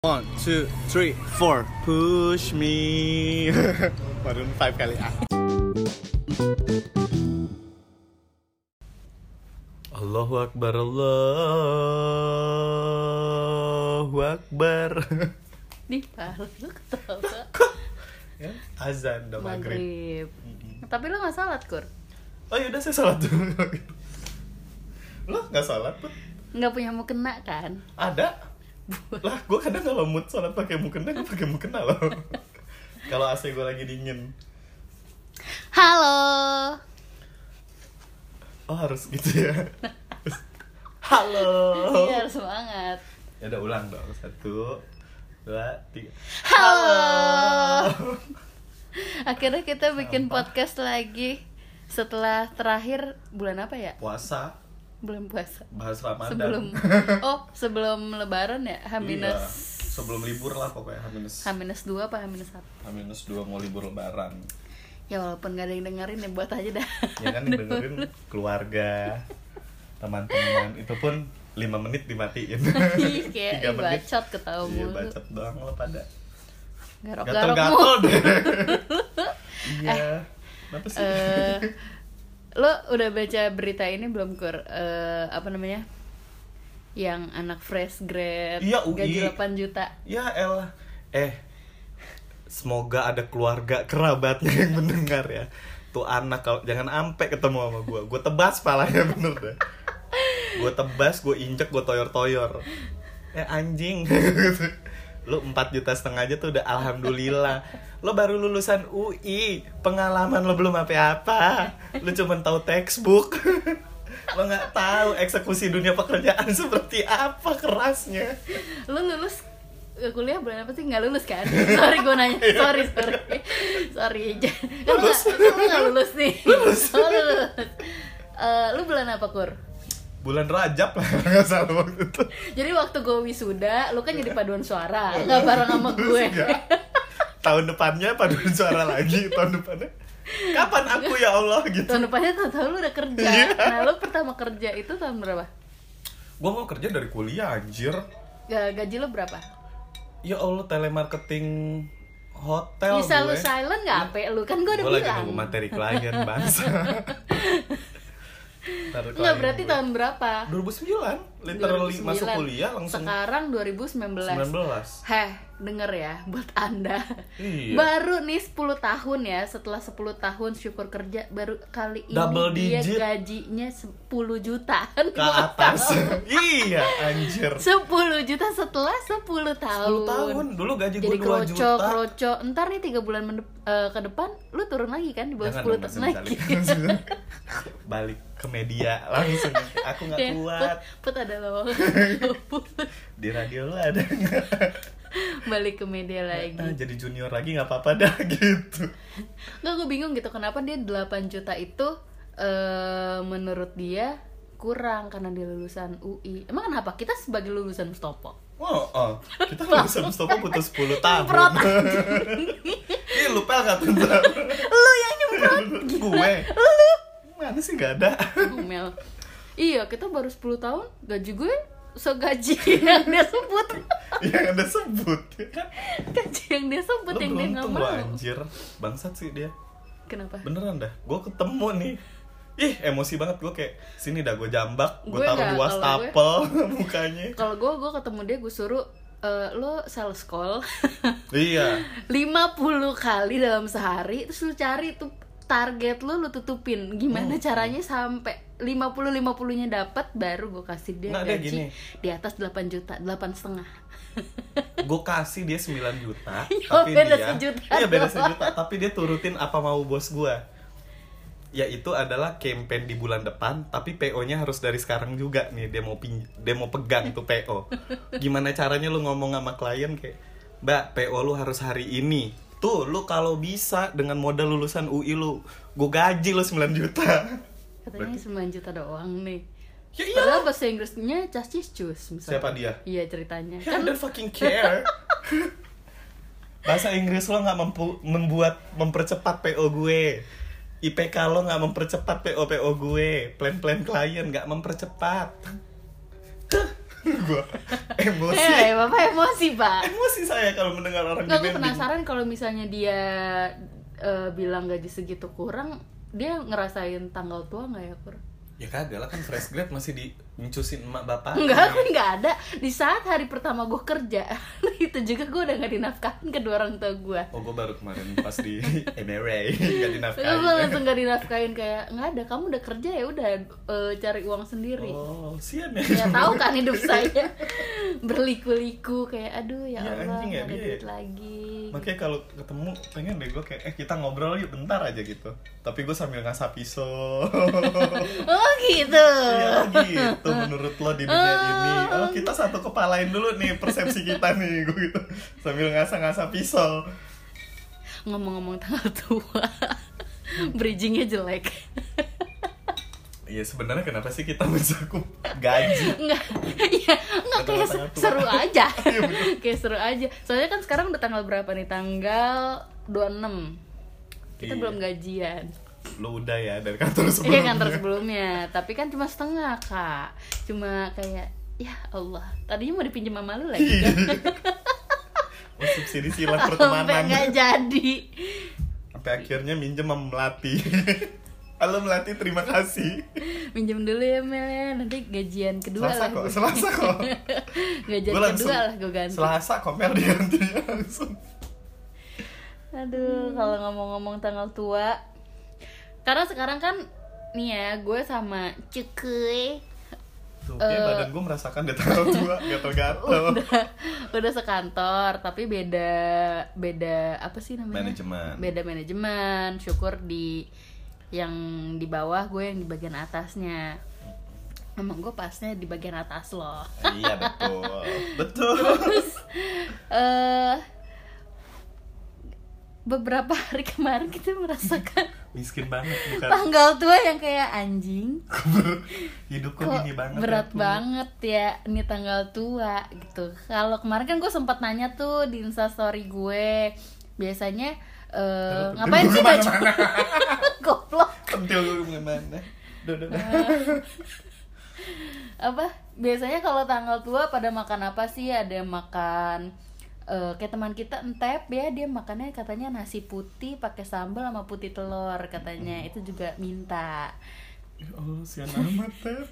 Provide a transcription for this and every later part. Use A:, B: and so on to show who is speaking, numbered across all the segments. A: One, two, three, four. Push me. Baru five kali ah. Allahu Akbar, Allahu Akbar.
B: Di Palu lu ketawa
A: Ya, Azan dong maghrib.
B: maghrib. Tapi lu nggak salat kur,
A: Oh yaudah saya salat dulu. Lo nggak salat pun?
B: nggak punya mau kena kan?
A: Ada? Lah, gue kadang kalau mood salat pakai mukena, gue pakai mukena loh. kalau AC gue lagi dingin.
B: Halo,
A: Oh harus gitu ya. Halo.
B: iya harus semangat.
A: Ya udah ulang dong satu, dua, tiga. Oh.
B: Halo. Oh. Akhirnya kita bikin podcast lagi setelah terakhir bulan apa ya?
A: Puasa
B: Bulan puasa.
A: bahas Ramadan.
B: Sebelum oh sebelum Lebaran ya?
A: Iya,
B: H minus
A: sebelum libur lah pokoknya H-minus.
B: H minus dua apa H minus satu?
A: H-minus dua mau libur lebaran.
B: Ya walaupun gak ada yang dengerin ya buat aja dah.
A: Ya kan dengerin keluarga, teman-teman. Itu pun 5 menit dimatiin.
B: Ih, kayak
A: Tiga
B: ih, bacot ketawa
A: Iya,
B: mulu.
A: bacot doang lo pada.
B: Garok-garok mulu.
A: Gatel-gatel deh. Iya. Kenapa sih?
B: eh lo udah baca berita ini belum kur Eh, apa namanya yang anak fresh grad
A: Iya, UI.
B: gaji 8 juta
A: Ya elah Eh Semoga ada keluarga kerabatnya yang mendengar ya Tuh anak kalau jangan ampe ketemu sama gue Gue tebas palanya bener deh Gue tebas, gue injek, gue toyor-toyor Eh anjing Lu 4 juta setengah aja tuh udah alhamdulillah Lo baru lulusan UI Pengalaman lo belum apa-apa Lo cuman tahu textbook Lo gak tahu eksekusi dunia pekerjaan seperti apa kerasnya
B: lo lulus eh, kuliah bulan apa sih nggak lulus kan sorry gue nanya sorry sorry sorry lo
A: Iya.
B: nggak
A: Lulus.
B: lo nggak lulus nih lulus. lo lulus Eh, lo bulan apa kur
A: bulan Rajab lah kalau nggak salah waktu itu
B: jadi waktu gue wisuda lo kan jadi paduan suara
A: Iya.
B: nggak bareng sama gue
A: Terus nggak. tahun depannya paduan suara lagi tahun depannya kapan aku ya Allah gitu
B: tahun depannya tahu-tahu lo udah kerja
A: Iya.
B: nah lo pertama kerja itu tahun berapa
A: gua mau kerja dari kuliah anjir
B: Ga- gaji lo berapa
A: ya Allah telemarketing hotel
B: Bisa lu
A: gue Iya.
B: silent gak ape lu kan gue udah
A: Gua lagi
B: bilang
A: nunggu materi klien bangsa Ntar
B: Enggak
A: klien
B: berarti
A: gue.
B: tahun berapa?
A: 2009 ya, literally
B: 2009.
A: masuk kuliah langsung
B: Sekarang 2019
A: 19
B: Heh, denger ya buat anda
A: Iya.
B: Baru nih 10 tahun ya Setelah 10 tahun syukur kerja Baru kali ini
A: Double
B: dia
A: digit.
B: gajinya 10 jutaan
A: ke atas iya anjir
B: 10 juta setelah 10 tahun
A: 10 tahun dulu gaji gue
B: Jadi
A: 2
B: kroco,
A: juta
B: kroco Ntar nih 3 bulan mendep- eh, ke depan Lu turun lagi kan di bawah 10 tahun
A: Jangan dong,
B: lagi
A: langsung balik. balik ke media langsung aku nggak
B: Ya,
A: kuat
B: Put, put ada loh
A: di radio lu ada nggak
B: balik ke media
A: Ah,
B: lagi
A: jadi junior lagi nggak apa-apa dah gitu
B: nggak gue bingung gitu kenapa dia 8 juta itu eh menurut dia kurang karena dia lulusan UI emang kenapa kita sebagai lulusan Mustopo
A: oh, oh. kita lulusan Mustafa butuh 10 tahun
B: Nyemprot.
A: ih lu pel nggak tuh Ntar?
B: lu ya, yang nyemprot
A: gue mana sih nggak ada
B: Gumel. iya kita baru 10 tahun gaji gue segaji yang dia sebut
A: yang ada sebut ya kan
B: gaji yang dia sebut
A: lu
B: yang dia nggak
A: beruntung lu
B: mau
A: anjir bangsat sih dia
B: kenapa
A: beneran dah gue ketemu nih ih emosi banget gue kayak sini dah gue jambak gue
B: Gue
A: taruh
B: nggak,
A: dua
B: kalau
A: stapel mukanya
B: kalau gue gue ketemu dia gue suruh eh, lo sales call
A: iya
B: 50 kali dalam sehari terus lu cari tuh target lu lu tutupin gimana
A: Hmm.
B: caranya sampai 50 50-nya dapat baru gue kasih dia
A: Nggak, dia
B: gaji
A: gini.
B: di atas 8 juta 8 setengah
A: gue kasih dia 9 juta
B: Yo,
A: tapi
B: beda
A: dia
B: sejuta
A: iya beda
B: doang.
A: sejuta tapi dia turutin apa mau bos gue yaitu adalah campaign di bulan depan tapi PO nya harus dari sekarang juga nih dia mau pin dia mau pegang tuh PO gimana caranya lu ngomong sama klien kayak mbak PO lu harus hari ini tuh lu kalau bisa dengan modal lulusan UI lu gue gaji lu 9 juta
B: katanya 9 juta doang nih
A: Ya iya.
B: Padahal bahasa Inggrisnya just cus misalnya.
A: Siapa dia? Ya
B: Iya ceritanya.
A: I don't fucking care. Bahasa Inggris lo nggak mempu- membuat mempercepat PO gue. IPK lo nggak mempercepat PO PO gue. Plan plan klien nggak mempercepat. gua emosi
B: Eh, Bapak emosi, Pak.
A: emosi saya kalau mendengar orang
B: Nggak, gue
A: demanding.
B: penasaran kalau misalnya dia eh, bilang gaji segitu kurang, dia ngerasain tanggal tua nggak ya, Kur?
A: ya kagak lah kan fresh grad masih diencusin emak bapak
B: Enggak, kan nggak ada. Di saat hari pertama gue kerja, itu juga gue udah nggak dinafkahin kedua orang tua gue.
A: oh gua baru kemarin pas di MRA nggak
B: Gue
A: dinafkahi
B: langsung nggak dinafkahin kayak nggak ada. Kamu udah kerja ya udah eh, cari uang sendiri.
A: oh sian ya
B: Ya tahu kan hidup saya berliku-liku kayak aduh ya,
A: Ya,
B: Allah
A: anjing ya,
B: nggak ada
A: dia.
B: duit lagi.
A: makanya kalau ketemu pengen deh gue kayak eh kita ngobrol yuk bentar aja gitu tapi gue sambil ngasah pisau
B: Oh gitu.
A: ya gitu menurut lo di dunia ini oh kita satu kepalain dulu nih persepsi kita nih gue gitu sambil ngasah-ngasah pisau
B: ngomong-ngomong tanggal tua bridgingnya jelek
A: Iya sebenarnya kenapa sih kita mencakup gaji?
B: nggak iya nggak
A: Tanggal
B: kayak
A: tanggal tua.
B: seru aja
A: Iya, bener.
B: kayak seru aja soalnya kan sekarang udah tanggal berapa nih tanggal 26 kita
A: Iya.
B: belum gajian
A: Lu udah ya dari kantor
B: iya
A: sebelumnya.
B: kantor sebelumnya tapi kan cuma setengah kak cuma kayak ya Allah tadinya mau dipinjam sama lu lagi
A: Iya. Oh, subsidi silang
B: sampai nggak
A: pertemanan.
B: jadi
A: Sampai akhirnya minjem sama Melati. Halo Melati, terima kasih.
B: minjem dulu ya Mel nanti gajian kedua
A: Selasa
B: lah
A: kok,
B: gua.
A: Selasa kok.
B: gajian
A: Gua langsung-
B: kedua lah gue ganti
A: Selasa komel diganti langsung.
B: Aduh, kalau ngomong-ngomong tanggal tua, karena sekarang kan nih ya, gue sama Cekui
A: Tuh, kayak
B: Eh.
A: badan gue merasakan dari tanggal tua, gatel-gatel.
B: udah udah sekantor, tapi beda beda apa sih namanya?
A: Manajemen.
B: Beda manajemen. Syukur di yang di bawah gue yang di bagian atasnya. Emang gue pasnya di bagian atas loh.
A: iya betul, betul.
B: Eh beberapa hari kemarin kita merasakan
A: Miskin banget bukan?
B: tanggal tua yang kayak anjing.
A: Hidup kok
B: kok
A: gini banget.
B: berat
A: ya, tuh.
B: banget ya ini tanggal tua gitu kalau kemarin kan gue sempat nanya tuh di instastory gue biasanya eh, ngapain
A: Duduk
B: sih baju
A: kemana-mana.
B: goblok
A: Pentil gue kemana-mana. Duh, duh,
B: Ah.
A: duh.
B: apa biasanya kalau tanggal tua pada makan apa sih ada yang makan eh, kayak teman kita entep ya dia makannya katanya nasi putih pakai sambal sama putih telur
A: Hmm.
B: katanya itu juga minta
A: Ya Allah, sian amat ya. Tep.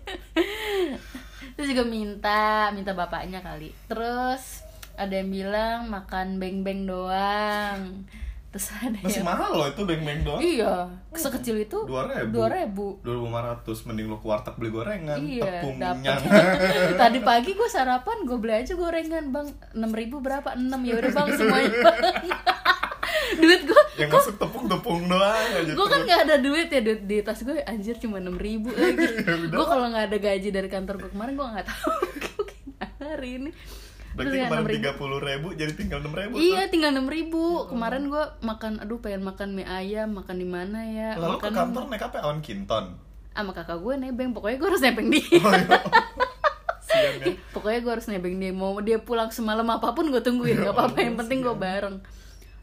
B: Terus juga minta, minta bapaknya kali. Terus ada yang bilang makan beng-beng doang. Terus ada
A: Masih
B: yang
A: mahal loh itu beng-beng doang
B: Iya, sekecil itu
A: Dua ribu.
B: dua ribu.
A: 2500 mending lo ke warteg beli gorengan
B: Iya,
A: kan. tepung
B: dapet.
A: minyak
B: Tadi pagi gue sarapan, gue beli aja gorengan bang, enam ribu berapa? Enam ya udah bang semuanya. Bang. duit gue,
A: yang masuk tepung-tepung doang aja
B: gue kan
A: terus.
B: nggak ada duit ya duit di tas gue anjir cuma enam ribu lagi.
A: Ya
B: gue kalau nggak ada gaji dari kantor gue kemarin gue nggak tahu gue gimana hari ini.
A: berarti
B: Terus ya,
A: kemarin 30
B: 6.000.
A: ribu jadi tinggal 6 ribu Oh.
B: Iya tinggal enam ribu kemarin gue makan aduh pengen makan mie ayam makan di mana ya
A: lalu ke
B: makan
A: kantor naik apa awan kinton
B: sama kakak gue nebeng pokoknya gue harus nebeng dia
A: oh, iya. sian ya
B: pokoknya gue harus nebeng dia mau dia pulang semalam apapun gue tungguin
A: Iya,
B: gak apa-apa yang penting gue bareng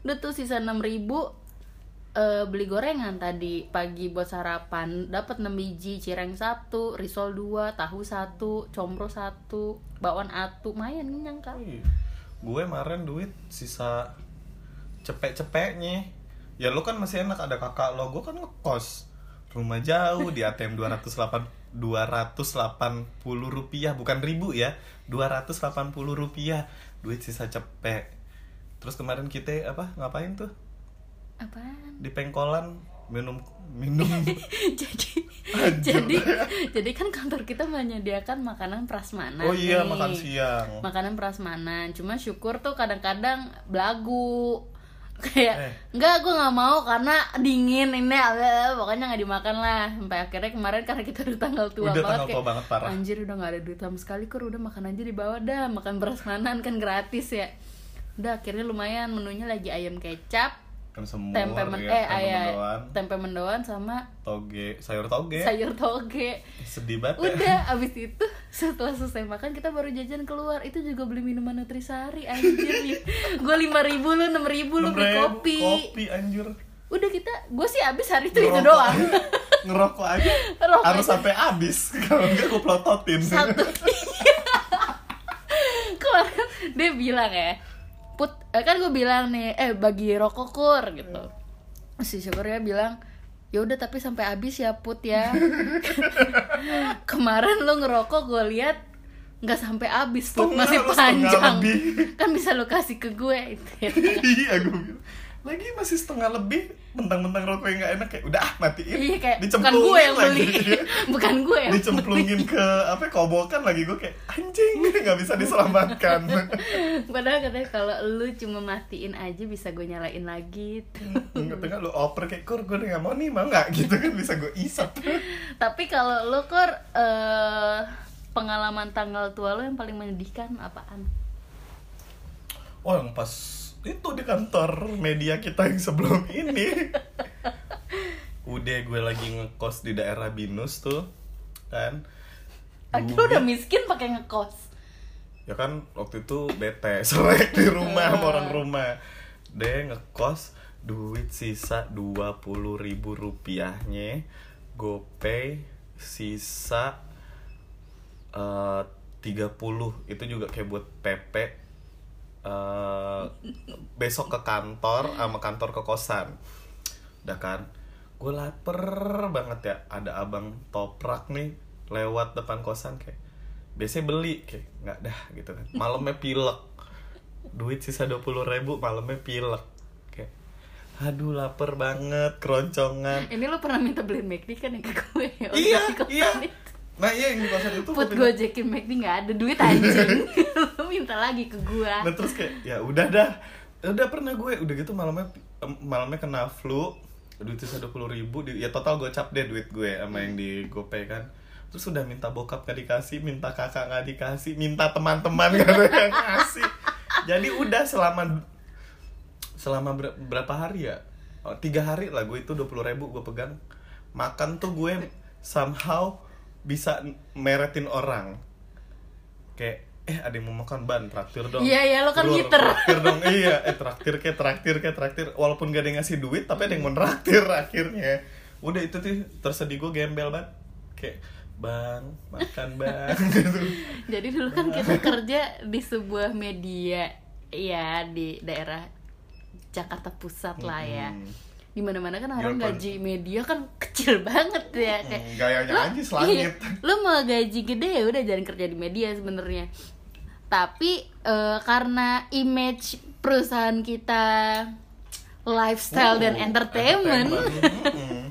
B: udah tuh sisa enam ribu eh, beli gorengan tadi pagi buat sarapan dapat 6 biji cireng satu risol 2 tahu satu comro satu bakwan atu mayan kenyang kak
A: Wih, gue kemarin duit sisa cepek-cepeknya ya lo kan masih enak ada kakak lo gue kan ngekos rumah jauh di ATM 208 280 rupiah bukan ribu ya 280 rupiah duit sisa cepek terus kemarin kita apa ngapain tuh
B: apaan
A: di pengkolan minum minum
B: jadi jadi jadi kan kantor kita menyediakan makanan prasmanan
A: oh iya
B: nih.
A: makan siang
B: makanan prasmanan cuma syukur tuh kadang-kadang belagu kayak
A: Eh.
B: enggak gue nggak mau karena dingin ini eh, pokoknya nggak dimakan lah sampai akhirnya kemarin karena kita udah tanggal tua
A: Udah
B: banget
A: tanggal tua
B: kayak,
A: banget, parah.
B: anjir udah nggak ada duit sama sekali kur udah makan aja di bawah dah makan prasmanan kan gratis ya udah akhirnya lumayan menunya lagi ayam kecap
A: kan semur
B: tempe men
A: ya, tempe
B: eh ayam
A: mendoan,
B: tempe mendoan sama
A: toge sayur toge
B: sayur toge
A: sedih banget ya.
B: udah abis itu setelah selesai makan kita baru jajan keluar itu juga beli minuman nutrisari anjir gue lima ribu lu enam ribu lu
A: 6.000,
B: beli kopi
A: kopi anjir
B: udah kita gue sih abis hari itu itu
A: Ngerokok
B: doang
A: aja. ngerokok aja
B: Ngerokok
A: harus
B: aja.
A: sampai habis kalau enggak gue pelototin
B: satu dia bilang ya put eh, kan gue bilang nih eh bagi rokok kur gitu si syukurnya bilang ya udah tapi sampai habis ya put ya kemarin lo ngerokok gue lihat nggak sampai habis put
A: Setengah,
B: masih
A: lu setengah
B: panjang
A: lebih.
B: kan bisa lo kasih ke gitu ya. gue
A: iya gue bilang lagi masih setengah lebih mentang-mentang rokoknya nggak enak kayak udah ah matiin
B: iya kayak bukan
A: Dicemplungin
B: gue yang
A: lagi.
B: beli bukan ya. gue yang
A: dicemplungin ke apa kobokan lagi gue kayak anjing nggak bisa diselamatkan
B: Padahal katanya kalau lu cuma matiin aja bisa gue nyalain lagi. gitu.
A: tengah lu oper kayak kur gue nggak mau nih mau nggak gitu kan bisa gue isap
B: Tapi kalau lu kor eh, pengalaman tanggal tua lu yang paling menyedihkan apaan?
A: oh yang pas itu di kantor media kita yang sebelum ini udah gue lagi ngekos di daerah binus tuh kan
B: Aduh
A: Gue-
B: Ah, udah miskin pakai ngekos.
A: ya kan waktu itu bete selek di rumah sama orang rumah deh ngekos duit sisa dua puluh ribu rupiahnya gopay sisa eh, tiga puluh itu juga kayak buat pp eh, besok ke kantor sama kantor ke kosan udah kan gue lapar banget ya ada abang toprak nih lewat depan kosan kayak biasanya beli kayak nggak dah gitu kan malamnya pilek duit sisa dua puluh ribu malamnya pilek kayak aduh lapar banget keroncongan
B: Ini lu pernah minta beliin McD kan ya ke gue? ya?
A: iya
B: Di kosan
A: iya
B: itu.
A: nah iya yang di kosan itu gua
B: Put
A: bilang-
B: gojekin McD nggak ada duit anjing. lu minta lagi ke gue.
A: Nah terus kayak ya udah dah Ya udah pernah gue udah gitu malamnya em, malamnya kena flu duit sisa dua ribu ya total gocap deh duit gue sama yang di GoPay kan terus udah minta bokap nggak dikasih minta kakak nggak dikasih minta teman-teman nggak ada yang ngasih jadi udah selama selama ber- berapa hari ya Oh, tiga hari lah gue itu dua puluh ribu gue pegang makan tuh gue somehow bisa n- meretin orang kayak eh ada yang mau makan ban traktir dong
B: Iya, iya, lo kan
A: Lur,
B: ngiter.
A: traktir dong iya eh traktir kayak traktir kayak traktir walaupun gak ada yang ngasih duit tapi ada yang mau traktir akhirnya udah itu tuh tersedih gue gembel banget kayak bang makan bang gitu
B: Jadi dulu kan kita kerja di sebuah media ya di daerah Jakarta Pusat lah ya.
A: Hmm.
B: Di mana-mana kan orang
A: Iya, kan.
B: gaji media kan kecil banget ya kayak
A: Hmm, gayanya
B: "Lo-
A: aja selangit."
B: iya, Lo mau gaji gede ya udah jangan kerja di media sebenarnya. Tapi eh, karena image perusahaan kita lifestyle dan
A: Uh,
B: entertainment
A: entertainment. Mm-mm.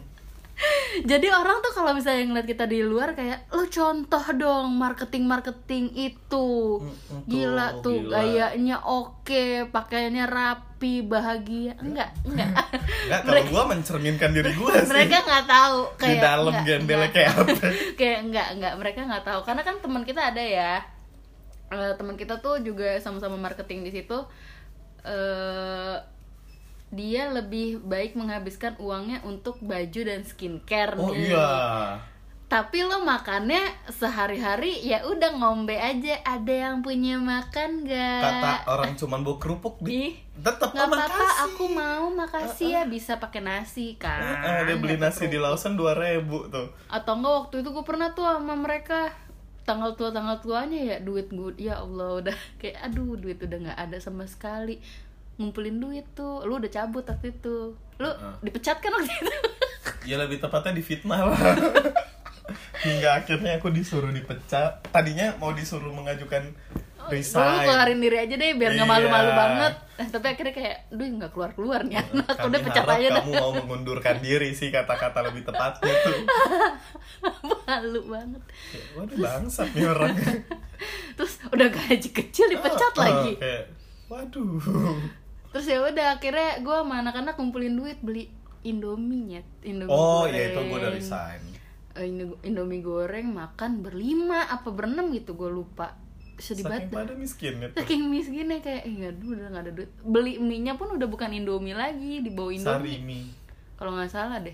B: jadi orang tuh kalau misalnya ngeliat kita di luar kayak lo contoh dong marketing marketing itu
A: Mm, mm,
B: gila
A: tuh,
B: tuh
A: gila.
B: gayanya oke pakaiannya rapi bahagia enggak enggak
A: Nggak, kalau gue mencerminkan diri gue sih
B: mereka nggak tahu
A: di
B: kayak
A: dalam
B: enggak,
A: gendelnya
B: enggak.
A: kayak apa
B: kayak enggak enggak mereka nggak tahu karena kan teman kita ada ya Eh, teman kita tuh juga sama-sama marketing di situ eh dia lebih baik menghabiskan uangnya untuk baju dan skincare
A: oh
B: nih
A: iya
B: tapi lo makannya sehari-hari ya udah ngombe aja ada yang punya makan gak
A: kata orang cuman bawa kerupuk
B: Ih,
A: di tetap
B: Eh, nggak
A: oh,
B: apa-apa
A: makasih.
B: aku mau makasih ya bisa pakai nasi kan
A: Eh, dia beli
B: Gitu.
A: nasi di Lawson dua ribu tuh
B: atau enggak waktu itu gue pernah tuh sama mereka tanggal tua tanggal tuanya ya duit gue ya allah udah kayak aduh duit udah nggak ada sama sekali ngumpulin duit tuh lu udah cabut waktu itu lu dipecat kan waktu itu
A: ya lebih tepatnya di fitnah lah hingga akhirnya aku disuruh dipecat tadinya mau disuruh mengajukan
B: Oh, Dulu
A: resign
B: keluarin diri aja deh biar nggak
A: Iya.
B: malu-malu banget. Eh, tapi akhirnya kayak, duh nggak keluar-keluar nih anak.
A: Nah, kami
B: Udah pecat
A: harap
B: aja dah.
A: kamu mau mengundurkan diri sih kata-kata lebih tepatnya tuh
B: malu banget.
A: Kayak, waduh bangsat nih orang
B: Terus udah gaji kecil dipecat
A: Oh, oh,
B: lagi.
A: kayak, waduh
B: Terus ya udah akhirnya gue sama anak-anak ngumpulin duit beli Indomie nyet. Indomie
A: oh
B: goreng.
A: iya itu gue udah resign
B: Eh, Indo- Indomie goreng makan berlima apa berenam gitu gue lupa. Sedih
A: saking
B: banget. dah.
A: pada miskinnya tuh
B: Saking miskinnya kayak, eh nggak udah nggak ada duit. Beli mie-nya pun udah bukan Indomie lagi, di bawah Indomie.
A: sarimi
B: kalau nggak salah deh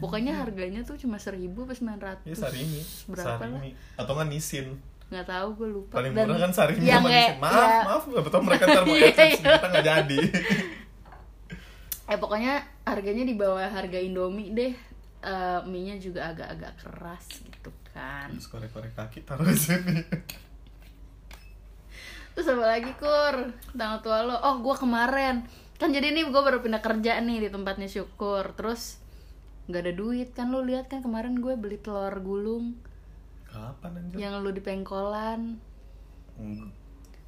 B: pokoknya harganya tuh cuma seribu pas sembilan
A: ya
B: ratus
A: sarimi
B: berapa lah
A: sarimi atau kan nisin
B: nggak tahu gue lupa
A: paling murah kan sarimi
B: yang
A: sama
B: kayak-
A: nisin maaf
B: ya-
A: maaf nggak betul mereka ntar mau
B: Iya,
A: ngecek
B: iya.
A: kita nggak jadi
B: eh pokoknya harganya di bawah harga indomie deh Eh mie nya juga agak-agak keras gitu kan
A: terus korek korek kaki taruh di sini
B: terus Terus apa lagi kur tanggal tua lo? Oh gue kemarin kan jadi ini gue baru pindah kerja nih di tempatnya syukur. Terus nggak ada duit kan lo lihat kan kemarin gue beli telur gulung
A: Kapan anjir?
B: yang lo di pengkolan.
A: Hmm.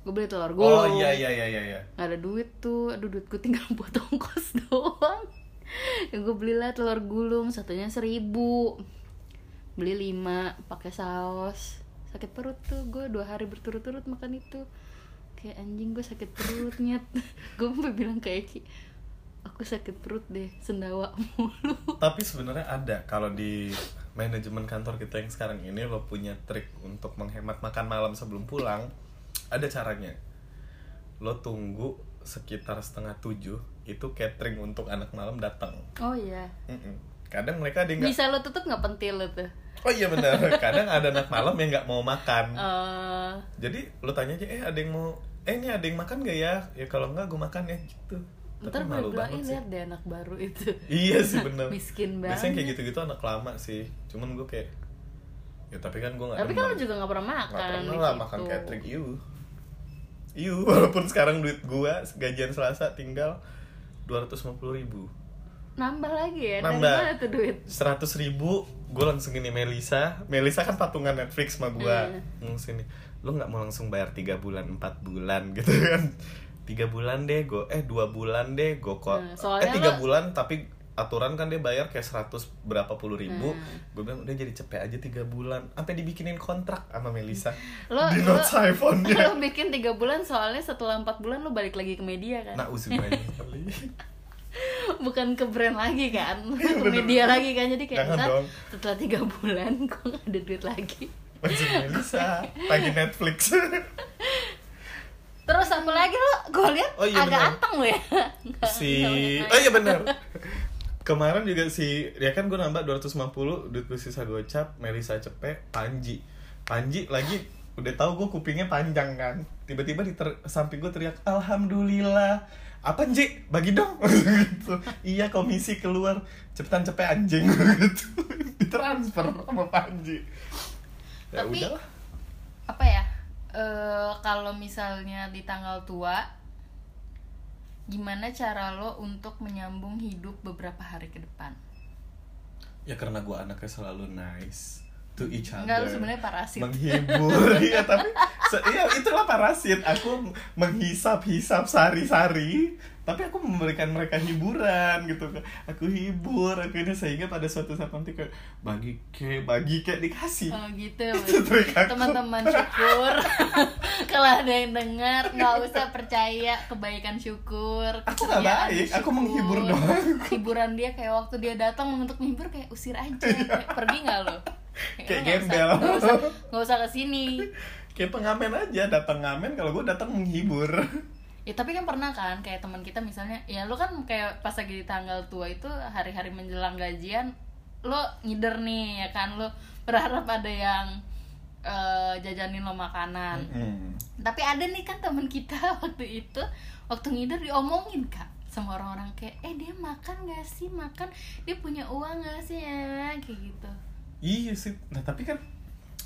B: Gue beli telur gulung.
A: Oh iya iya iya iya. iya.
B: Gak ada duit tuh, aduh duit gue tinggal buat ongkos doang ya gue belilah telur gulung, satunya seribu Beli lima, pakai saus Sakit perut tuh, gue dua hari berturut-turut makan itu Kayak anjing gue sakit perut, nyet Gue sampai bilang ke Eki Aku sakit perut deh, sendawa mulu
A: Tapi sebenarnya ada kalau di manajemen kantor kita yang sekarang ini lo punya trik untuk menghemat makan malam sebelum pulang. Ada caranya. Lo tunggu sekitar setengah tujuh itu catering untuk anak malam datang.
B: Oh iya
A: Mm-mm. Kadang mereka ada yang nggak-
B: Bisa lo tutup gak pentil lo tuh?
A: Oh iya benar. Kadang ada anak malam yang nggak mau makan.
B: Eh,
A: Jadi lo tanya aja, eh ada yang mau, eh ini ada yang makan gak ya? Ya kalau enggak gue makan ya gitu.
B: Eh, ntar gue bilang, "Ih,
A: sih.
B: lihat deh anak baru itu
A: Iya sih bener.
B: Miskin
A: Biasanya kayak
B: banget.
A: gitu-gitu anak lama sih. Cuman gue kayak, ya tapi kan gue nggak.
B: Tapi kan lo
A: demen.
B: juga gak pernah makan
A: Nggak pernah
B: di
A: lah
B: situ.
A: makan catering. Iu, iu. Walaupun sekarang duit gue gajian Selasa tinggal dua ratus ribu.
B: Nambah lagi ya? Dari
A: Nambah.
B: mana tuh duit?
A: seratus ribu gue langsung ini Melisa Melisa kan patungan Netflix sama gue
B: Hmm.
A: langsung ini lo nggak mau langsung bayar tiga bulan empat bulan gitu kan tiga bulan deh gue eh dua bulan deh gue kok
B: Hmm,
A: eh
B: soalnya
A: tiga
B: lo-
A: bulan tapi aturan kan dia bayar kayak seratus berapa puluh ribu
B: Hmm.
A: gue bilang udah jadi cepet aja tiga bulan sampai dibikinin kontrak sama Melisa
B: Lo-
A: di
B: lo-
A: notes iPhone nya
B: lo bikin tiga bulan soalnya setelah empat bulan lo balik lagi ke media kan?
A: nah
B: Bukan ke brand lagi kan?
A: Iya,
B: ke
A: bener.
B: media lagi kan? Jadi kayak
A: Jangan
B: ntar
A: dong.
B: setelah tiga bulan gue gak ada duit lagi
A: masih Melisa lagi Netflix
B: Terus apa lagi lo? Gue liat
A: Oh, iya,
B: agak
A: bener.
B: anteng lo ya
A: si
B: Nggak banyak
A: oh iya benar kemarin juga si ya kan gue nambah 250 duit gue sisa gocap Melisa Cepe Panji Panji lagi udah tahu gue kupingnya panjang kan tiba-tiba di ter- samping gue teriak alhamdulillah apa Nji? bagi dong gitu iya komisi keluar cepetan cepe anjing gitu ditransfer sama Panji ya
B: Tapi-
A: udahlah
B: Apa ya? Eh, Kalau misalnya di tanggal tua Gimana cara lo untuk menyambung hidup beberapa hari ke depan?
A: ya karena gue anaknya selalu nice to each other
B: Enggak, lu sebenarnya parasit.
A: menghibur iya tapi se- iya itulah parasit aku menghisap hisap sari sari tapi aku memberikan mereka hiburan gitu aku hibur aku ini sehingga pada suatu saat nanti kayak bagi ke bagi ke dikasih
B: Oh gitu.
A: Itu trik aku.
B: Teman-teman syukur. Kalau ada yang dengar nggak usah percaya kebaikan syukur.
A: Aku nggak
B: kesetiaan
A: baik, aku
B: syukur.
A: menghibur doang.
B: Hiburan dia kayak waktu dia datang untuk menghibur kayak usir aja. Kayak, Pergi nggak lo?
A: Iya. Kayak
B: "Lo nggak
A: gembel."
B: usah- Nggak usah, nggak usah kesini.
A: kayak pengamen aja datang ngamen kalau gue datang menghibur
B: Ya tapi kan pernah kan kayak teman kita misalnya, ya lo kan kayak pas lagi di tanggal tua itu hari-hari menjelang gajian lo ngider nih ya kan lo berharap ada yang eh, jajanin lo makanan.
A: Hmm.
B: tapi ada nih kan teman kita waktu itu waktu ngider diomongin kak sama orang-orang kayak eh dia makan gak sih makan dia punya uang gak sih ya kayak gitu
A: Iya sih. Nah tapi kan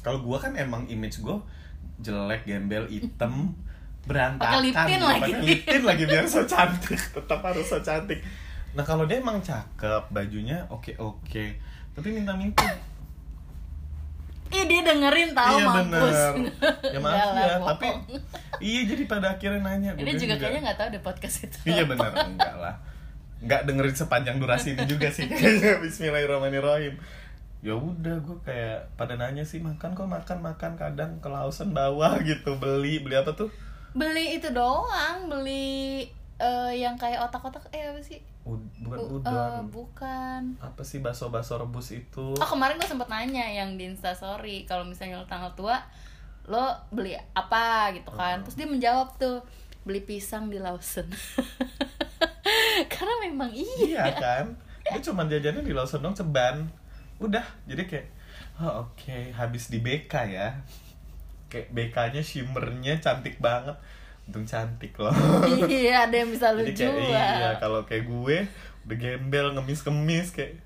A: kalau gua kan emang image gua jelek, gembel, item, berantakan. Iya,
B: Pakai lip tint lagi.
A: Pakai lip tint lagi biar so cantik. Tetap harus so cantik. Nah kalau dia emang cakep, bajunya oke oke. Tapi minta-minta.
B: ih dia dengerin tahu
A: iya
B: mampus
A: bener. Ya maaf
B: Enggak lah,
A: ya,
B: bohong.
A: tapi iya jadi pada akhirnya nanya. Gua
B: dia
A: bilang
B: juga kayaknya nggak tahu deh podcast itu
A: Iya benar, enggak lah. Enggak dengerin sepanjang durasi ini juga sih kayaknya Bismillahirrahmanirrahim. Ya udah gue kayak pada nanya sih makan kok makan makan kadang kelausan bawah gitu beli beli apa tuh
B: beli itu doang beli eh, yang kayak otak-otak eh apa sih
A: Ud- bukan
B: Bu- eh,
A: udang
B: bukan
A: apa sih baso baso rebus itu
B: Oh kemarin gue sempet nanya yang di instastory kalau misalnya lo tanggal tua lo beli apa gitu
A: Hmm.
B: kan terus dia menjawab tuh beli pisang di Lawson karena memang iya
A: iya kan gue cuma jajannya di Lawson dong ceban udah jadi kayak oh, oke habis di BK ya kayak BK-nya shimmernya cantik banget untung cantik loh
B: iya ada yang bisa lu
A: Jadi kayak
B: jual
A: iya kalau kayak gue udah gembel Ya, ngemis-ngemis kayak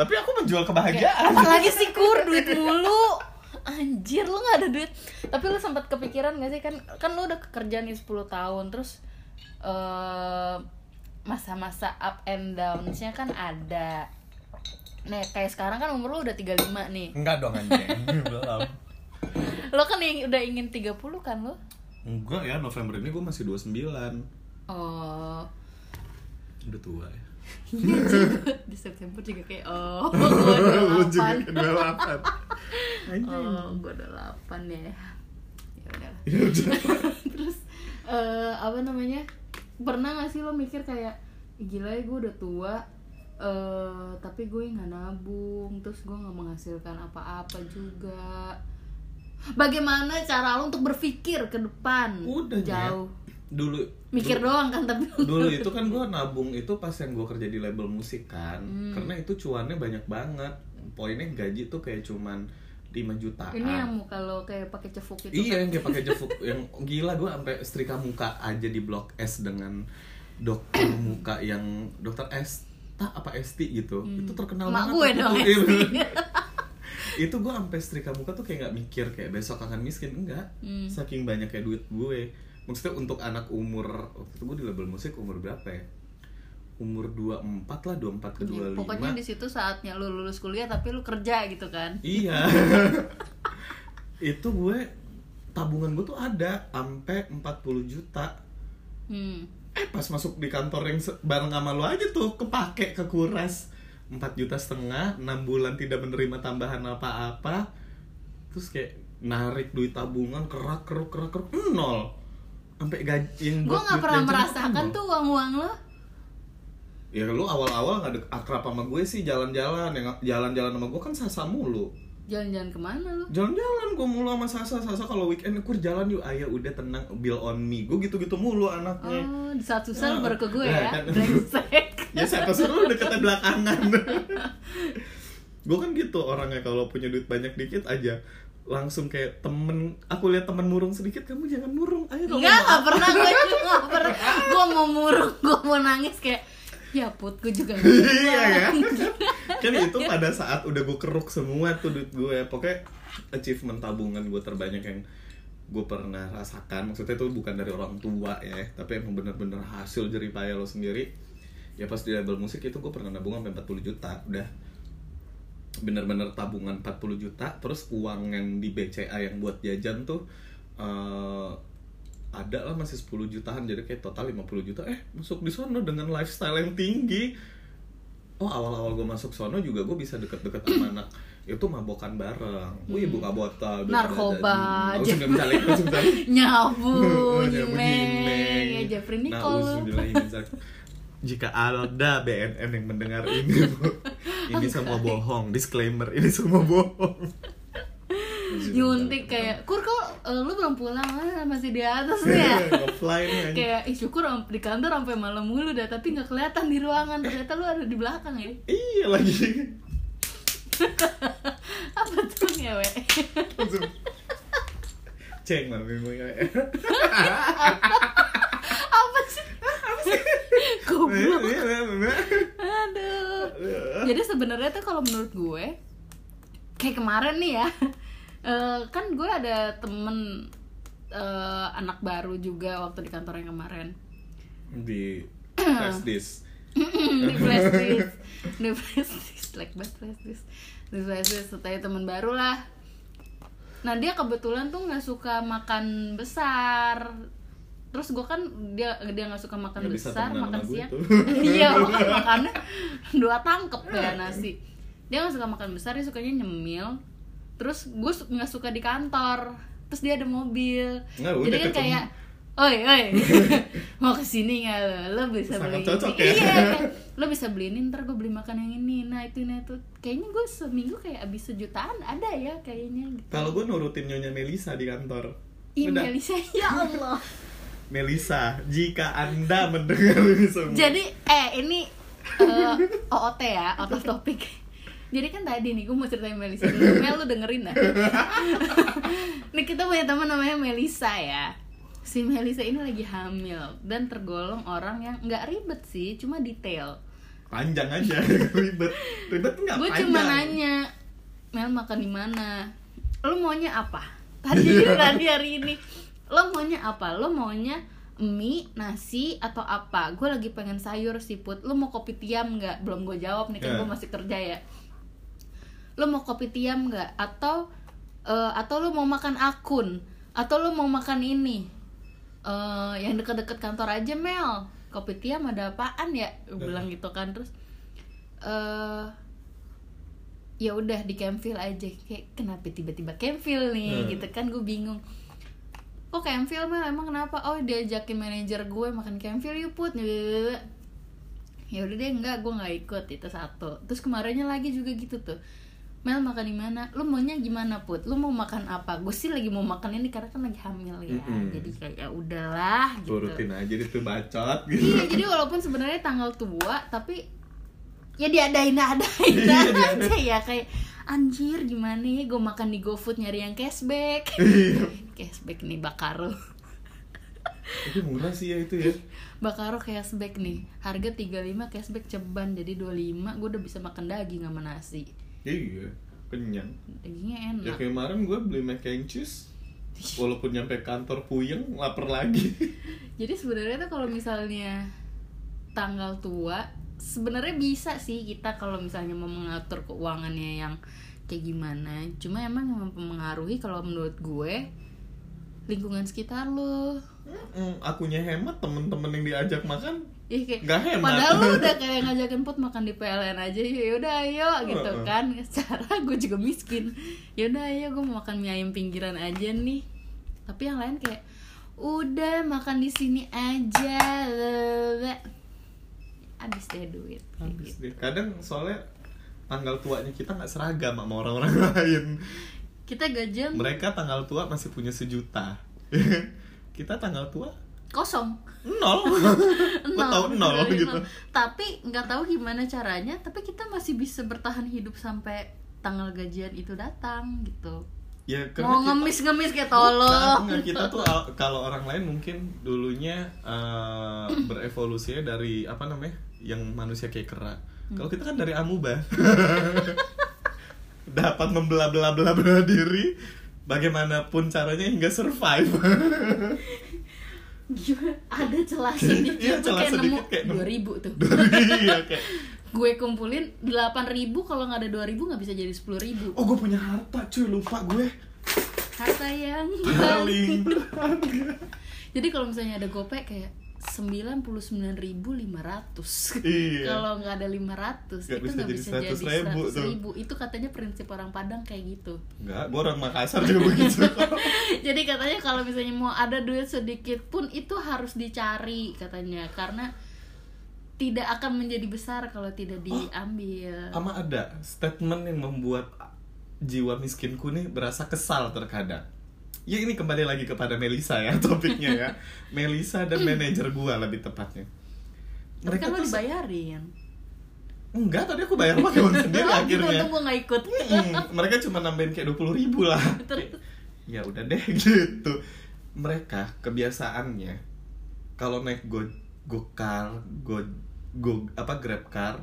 A: tapi aku menjual kebahagiaan
B: apalagi sih kur duit mulu anjir lu nggak ada duit tapi lu sempat kepikiran gak sih kan kan lu udah kerja nih 10 tahun terus eh, masa-masa up and downs-nya kan ada Nah, kayak sekarang kan umur lu udah 35 nih.
A: Enggak dong anjing. Iya, Belum.
B: Lo kan yang udah ingin 30 kan lo?
A: Enggak ya, November ini gue masih 29.
B: Oh.
A: Udah tua ya.
B: Di September juga kayak oh,
A: Lu
B: gue
A: juga
B: udah 8.
A: ke 28. Anjing.
B: Oh, gue udah 8 ya. Ya udah.
A: Ya udah.
B: Terus eh apa namanya? Pernah gak sih lo mikir kayak "Ih, gila ya gue udah tua eh tapi gue nggak nabung terus gue nggak menghasilkan apa-apa juga bagaimana cara lo untuk berpikir ke depan
A: Oh, Udah, Nyet.
B: jauh
A: Dulu
B: mikir doang kan tapi lo
A: dulu itu kan gue nabung itu pas yang gue kerja di label musik kan karena itu cuannya banyak banget poinnya gaji tuh kayak cuman 5 jutaan
B: Ini yang muka lo kayak pakai cefuk itu.
A: Ah. iya yang kayak pakai jefuk yang gila gue sampai setrika muka aja di blok S dengan dokter muka yang dokter S tak apa ST gitu itu terkenal
B: kan
A: banget
B: Emak Hmm. gue
A: waktu
B: dong,
A: itu. Iya,
B: ST.
A: bener. itu gue sampai setrika muka tuh kayak nggak mikir kayak besok akan miskin enggak
B: Hmm.
A: saking banyaknya duit gue maksudnya untuk anak umur waktu itu gue di label musik umur berapa ya umur 24 lah 24 ke 25
B: Iya, Pokoknya di situ saatnya lo lulus kuliah tapi lo kerja gitu kan.
A: Iya. itu gue tabungan gue tuh ada sampai 40 juta.
B: Hmm.
A: Eh pas masuk di kantor yang se- bareng sama lo aja tuh kepake kekuras 4 juta setengah, 6 bulan tidak menerima tambahan apa-apa. Terus kayak narik duit tabungan kerak keruk kerak keruk nol. Sampai gaji yang
B: Gue
A: buat
B: nggak
A: duit
B: pernah
A: jajan
B: merasakan
A: nol.
B: tuh uang-uang lo.
A: Ya lu awal-awal gak ada akrab sama gue sih jalan-jalan Yang jalan-jalan sama gue kan sasa mulu
B: Jalan-jalan kemana lo?
A: Jalan-jalan gue mulu sama Sasa Sasa kalau weekend kur jalan yuk ayo udah tenang bill on me gue gitu-gitu mulu anaknya
B: Oh, di saat
A: Ah,
B: susah lo baru ke gue
A: nah,
B: ya.
A: kan.
B: Brengsek.
A: ya siapa suruh deketnya belakangan gue kan gitu orangnya kalau punya duit banyak dikit aja langsung kayak temen aku lihat temen murung sedikit kamu jangan murung ayo dong
B: Enggak, nggak pernah gue nggak pernah. Gue mau murung, gue mau nangis kayak ya put gue juga nggak
A: iya kan
B: pernah."
A: kan itu pada saat udah gue keruk semua tuh duit gue pokoknya achievement tabungan gue terbanyak yang gue pernah rasakan maksudnya itu bukan dari orang tua ya tapi emang bener-bener hasil jeripaya lo sendiri ya pas di label musik itu gue pernah nabung sampai 40 juta udah bener-bener tabungan 40 juta terus uang yang di BCA yang buat jajan tuh eh ada lah masih 10 jutaan jadi kayak total 50 juta eh masuk di sono dengan lifestyle yang tinggi oh awal-awal gue masuk sono juga gue bisa deket-deket sama anak itu mabokan bareng wih buka botol beli
B: Narkoba,
A: jajan. langsung mencalik langsung mencalik
B: Nyabu,
A: Nyabu
B: nyimeng,
A: nyimeng.
B: ya Jeffrey
A: Oh, Nah,
B: Nicole.
A: uzubillahiminzalik. Jika ada BNN yang mendengar ini, Bu, ini semua bohong. Disclaimer, ini semua bohong.
B: Nyuntik kayak, kur kok eh, lu belum pulang ah, masih di atas
A: Iya.
B: nih ya.
A: Offline nih. anjing.
B: kayak ih syukur am- di kantor sampai malam mulu dah tapi nggak kelihatan di ruangan ternyata lu ada di belakang ya
A: Iya lagi.
B: apa tuh ngewe
A: Langsung. Ceng lah memang ya.
B: apa sih goblok
A: Iya,
B: aduh jadi sebenarnya tuh kalau menurut gue kayak kemarin nih ya eh, kan gue ada temen eh, anak baru juga waktu di kantor yang kemarin
A: Di flash disk.
B: di flash disk di flash disk like banget flash disk di flash disk setelah teman baru lah nah dia kebetulan tuh nggak suka makan besar terus gue kan dia dia nggak suka makan
A: Nggak bisa
B: besar
A: temenan
B: makan
A: sama gue
B: siang
A: tuh.
B: iya makan makannya dua tangkep ya nasi dia nggak suka makan besar dia sukanya nyemil terus gue su- nggak suka di kantor terus dia ada mobil
A: Nggak,
B: jadi
A: udah
B: kan
A: ketemu.
B: kayak oi oi mau kesini nggak lo lo bisa
A: Sangat
B: beli
A: cocok
B: ini."
A: ya.
B: iya kayak, lo bisa beli ini ntar gue beli makan yang ini nah itu nah itu kayaknya gue seminggu kayak abis sejutaan ada ya kayaknya gitu
A: Kalau gue nurutin nyonya Melisa di kantor.
B: Ih,
A: Udah.
B: Melisa, ya Allah
A: Melisa, jika Anda mendengar ini semua.
B: jadi eh ini eh, OOT ya out of topic jadi kan tadi nih gue mau ceritain Melisa dulu Mel lu dengerin dah nih kita punya teman namanya Melisa ya si Melisa ini lagi hamil dan tergolong orang yang nggak ribet sih cuma detail
A: panjang aja ribet ribet nggak
B: gue
A: panjang
B: cuma nanya Mel makan di mana lu maunya apa tadi ya, tadi hari ini lo maunya apa lo maunya mie nasi atau apa gue lagi pengen sayur siput lo mau kopi tiam nggak belum gue jawab nih kan
A: Iya.
B: gue masih kerja ya lo mau kopi tiam nggak atau eh, atau lo mau makan akun atau lo mau makan ini Eh, yang deket-deket kantor aja Mel kopi tiam ada apaan ya
A: Nah.
B: gue bilang gitu kan terus eh ya udah di Campville aja kayak kenapa tiba-tiba Campville nih
A: Hmm.
B: gitu kan gue bingung kok Campville Mel emang kenapa oh diajakin manajer gue makan Campville yuk put ya udah deh enggak gue nggak ikut itu satu terus kemarinnya lagi juga gitu tuh Mel makan di mana? Lu maunya gimana put? Lu mau makan apa? Gue sih lagi mau makan ini karena kan lagi hamil ya,
A: Mm-mm.
B: jadi kayak ya udahlah gitu.
A: turutin aja itu bacot gitu
B: Iya, jadi walaupun sebenarnya tanggal tua, tapi ya diadain adain
A: Iya,
B: aja ya kayak anjir gimana ya gue makan di GoFood nyari yang cashback.
A: Iya.
B: cashback nih Bakaro.
A: tapi murah sih ya itu ya
B: Bakaro cashback nih. Harga 35 cashback ceban jadi 25 gue udah bisa makan daging sama nasi.
A: iya kenyang
B: Dagingnya
A: ya
B: enak.
A: kemarin gue beli mac and cheese walaupun nyampe kantor puyeng lapar lagi
B: Jadi sebenarnya tuh kalau misalnya tanggal tua sebenarnya bisa sih kita kalau misalnya mau mengatur keuangannya yang kayak gimana. Cuma emang yang mempengaruhi kalau menurut gue lingkungan sekitar lo.
A: Mm, akunya hemat temen-temen yang diajak makan
B: Ih Iya, kayak
A: Nggak hemat.
B: padahal lu udah kayak ngajakin put makan di PLN aja ya udah ayo gitu
A: Heeh.
B: kan. Secara gue juga miskin. Ya udah ayo gue mau makan mie ayam pinggiran aja nih. Tapi yang lain kayak udah makan di sini aja. Lele." Abis deh duit. kayak
A: habis
B: gitu.
A: deh kadang soalnya tanggal tuanya kita nggak seragam sama orang-orang lain
B: Iya. Kita gajian
A: mereka tanggal tua masih punya sejuta kita tanggal tua
B: kosong.
A: nol Gua tahu nol
B: beneran
A: gitu
B: nol. Tapi nggak tahu gimana caranya, tapi kita masih bisa bertahan hidup sampai tanggal gajian itu datang gitu.
A: ya
B: mau
A: kita-
B: ngemis-ngemis kayak
A: Bukan,
B: tolong
A: enggak. kita tuh al- kalau orang lain mungkin dulunya eh, berevolusinya dari apa namanya yang manusia kayak kera
B: Hmm.
A: kalau kita kan dari amuba dapat membelah-belah-belah diri bagaimanapun caranya hingga survive
B: Gimana? ada celah sedikit
A: Iya,
B: tuh
A: celah
B: kayak
A: sedikit kayak
B: nemu
A: nemu.
B: dua ribu tuh
A: dari ya kayak
B: gue kumpulin delapan ribu kalau nggak ada dua ribu nggak bisa jadi sepuluh ribu
A: oh gue punya harta cuy lupa gue
B: harta yang
A: paling berharga.
B: jadi kalau misalnya ada gopay kayak sembilan puluh sembilan ribu lima ratus
A: iya
B: kalau nggak ada lima ratus
A: Nggak
B: itu
A: bisa
B: nggak
A: jadi
B: bisa jadi
A: 100.000
B: seratus
A: tuh.
B: ribu itu katanya prinsip orang Padang kayak gitu
A: Enggak, gue orang Makassar juga begitu
B: Jadi katanya kalau misalnya mau ada duit sedikit pun itu harus dicari katanya karena tidak akan menjadi besar kalau
A: Oh.
B: tidak diambil.
A: Ama ada statement yang membuat jiwa miskinku nih berasa kesal terkadang. Ya ini kembali lagi kepada Melisa ya topiknya ya. Melisa dan manajer gua lebih tepatnya.
B: Tapi kan lo
A: tuh-
B: dibayarin.
A: enggak tadi aku bayar pakai uang sendiri
B: Oh, gitu,
A: akhirnya.
B: untung gue gak ikut.
A: Mm, mereka cuma nambahin kayak 20 ribu lah.
B: Terus?
A: ya udah deh gitu. Mereka kebiasaannya kalau naik go gokar, go go apa grab car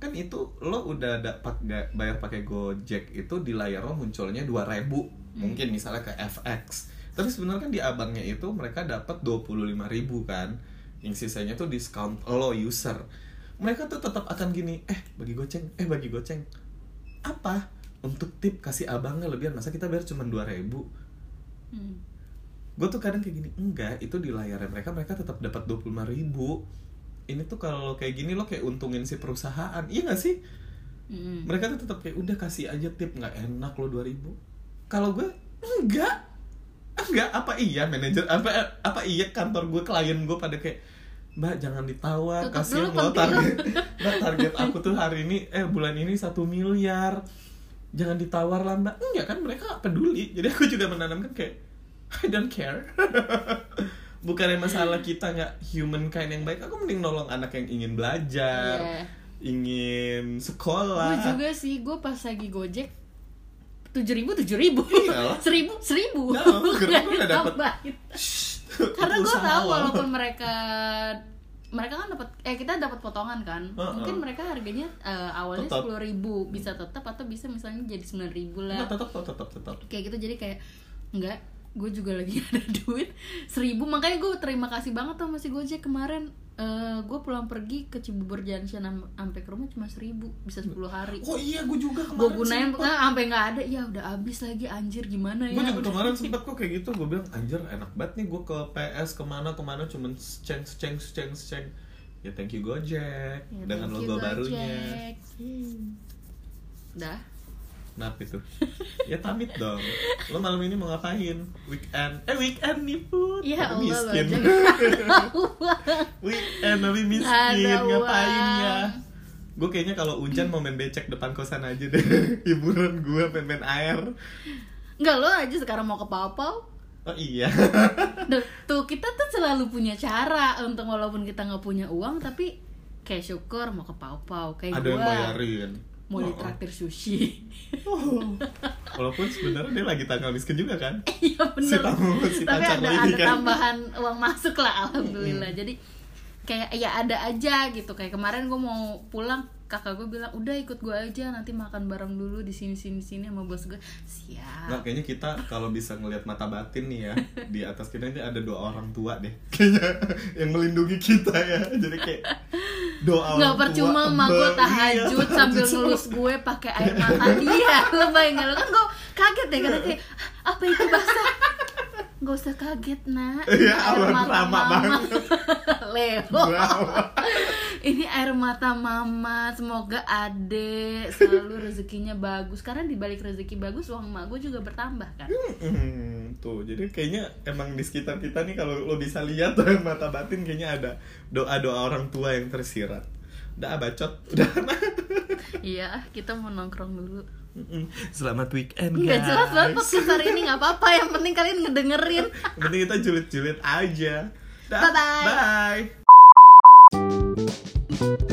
A: kan itu lo udah dapat ga- bayar pakai gojek itu di layar lo munculnya 2000 mungkin misalnya ke FX tapi sebenarnya kan di abangnya itu mereka dapat 25.000 kan yang sisanya tuh diskon lo user mereka tuh tetap akan gini eh bagi goceng eh bagi goceng apa untuk tip kasih abangnya lebihan masa kita bayar cuma dua ribu
B: Hmm.
A: gue tuh kadang kayak gini enggak itu di layarnya mereka mereka tetap dapat dua ribu ini tuh kalau kayak gini lo kayak untungin si perusahaan iya gak sih
B: Mm.
A: mereka tuh tetap kayak udah kasih aja tip nggak enak lo dua ribu kalau gue enggak enggak apa iya manajer apa apa iya kantor gue klien gue pada kayak mbak jangan ditawar
B: Tutup
A: kasihan
B: dulu
A: lo
B: konten lo."
A: target mbak target aku tuh hari ini eh bulan ini satu miliar jangan ditawar lah mbak enggak kan mereka nggak peduli jadi aku juga menanamkan kayak I don't care bukannya masalah kita nggak humankind yang baik aku mending nolong anak yang ingin belajar
B: Iya.
A: ingin
B: Gue
A: sekolah
B: juga sih, gue pas lagi gojek tujuh ribu tujuh ribu
A: Iya.
B: seribu seribu
A: Iya, gerobak
B: Nggak
A: udah dapet.
B: ditambahin.
A: Shh,
B: karena gue
A: usaha
B: tahu
A: lo.
B: walaupun mereka mereka kan dapat eh kayak kita dapat potongan kan
A: Heeh.
B: mungkin mereka harganya eh, awalnya
A: Tetap.
B: sepuluh ribu bisa tetap atau bisa misalnya jadi sembilan ribu lah
A: Enggak, tetap tetap tetap tetap.
B: kayak gitu jadi kayak enggak gue juga lagi ada duit seribu makanya gue terima kasih banget sama si Gojek kemarin Eh, gue pulang pergi ke Cibubur Junction am- sampai ke rumah cuma seribu bisa 10 hari
A: Oh iya, gue juga kemarin.
B: gue gunain
A: sempet.
B: nah, sampai nggak ada ya udah habis lagi anjir gimana ya
A: Gue juga
B: Udah.
A: kemarin sempet kok kayak gitu Gue bilang anjir enak banget nih gue ke PS kemana kemana cuman ceng ceng ceng ceng Ya thank you Gojek
B: Ya,
A: Dengan
B: thank you,
A: logo
B: Gojek.
A: barunya
B: Hmm. dah
A: Kenapa itu? ya pamit dong Lo malam ini mau ngapain? Weekend Eh weekend nih pun
B: ya
A: Tapi
B: Allah
A: miskin
B: Gojek
A: Weekend tapi
B: Nggak
A: eh, miskin
B: ada
A: Ngapain
B: uang.
A: ya? Gue kayaknya kalau hujan mau main becek depan kosan aja deh Hiburan gue main-main air
B: nggak lo aja sekarang mau ke Papau
A: Oh iya
B: Duh, tuh kita tuh selalu punya cara untuk walaupun kita nggak punya uang tapi kayak syukur mau ke pau pau kayak
A: Ada
B: Eh, gua
A: yang bayarin Oh,
B: mau
A: oh.
B: ditraktir sushi
A: Oh. Walaupun sebenarnya dia lagi tanggal miskin juga kan.
B: iya
A: Si
B: bener
A: tamu, si
B: tapi
A: pacar
B: ada
A: lagi
B: ada
A: kan. Hmm.
B: tambahan uang masuk lah alhamdulillah jadi kayak ya ada aja gitu kayak kemarin gue mau pulang kakak gue bilang udah ikut gue aja nanti makan bareng dulu di sini sini sini sama bos gue
A: Nggak,
B: siap
A: kayaknya kita kalau bisa ngelihat mata batin nih ya di atas kita ini ada dua orang tua deh kayaknya yang melindungi kita ya jadi kayak doa
B: nggak
A: orang
B: percuma
A: tua,
B: emak gue
A: tebel.
B: tahajud
A: Iya,
B: sambil
A: tahajud.
B: ngelus gue pakai air mata dia lo bayangin nggak? lo kan gue kaget ya karena kayak "Hah, apa itu basah Gak usah kaget nak Ini
A: Iya, abang lama banget.
B: Leo
A: Wow.
B: Ini air mata mama Semoga adek Selalu rezekinya bagus Karena dibalik rezeki bagus Uang emak gue juga bertambah kan
A: Hmm, tuh jadi kayaknya emang di sekitar kita nih kalau lo bisa lihat tuh mata batin kayaknya ada doa doa orang tua yang tersirat udah ah, bacot udah
B: Iya kita mau nongkrong dulu
A: Mm-mm. selamat weekend guys
B: Gak jelas banget podcast hari ini Gak apa-apa yang penting kalian ngedengerin
A: Yang penting kita julid-julid aja. Dah,
B: Bye-bye.
A: Bye.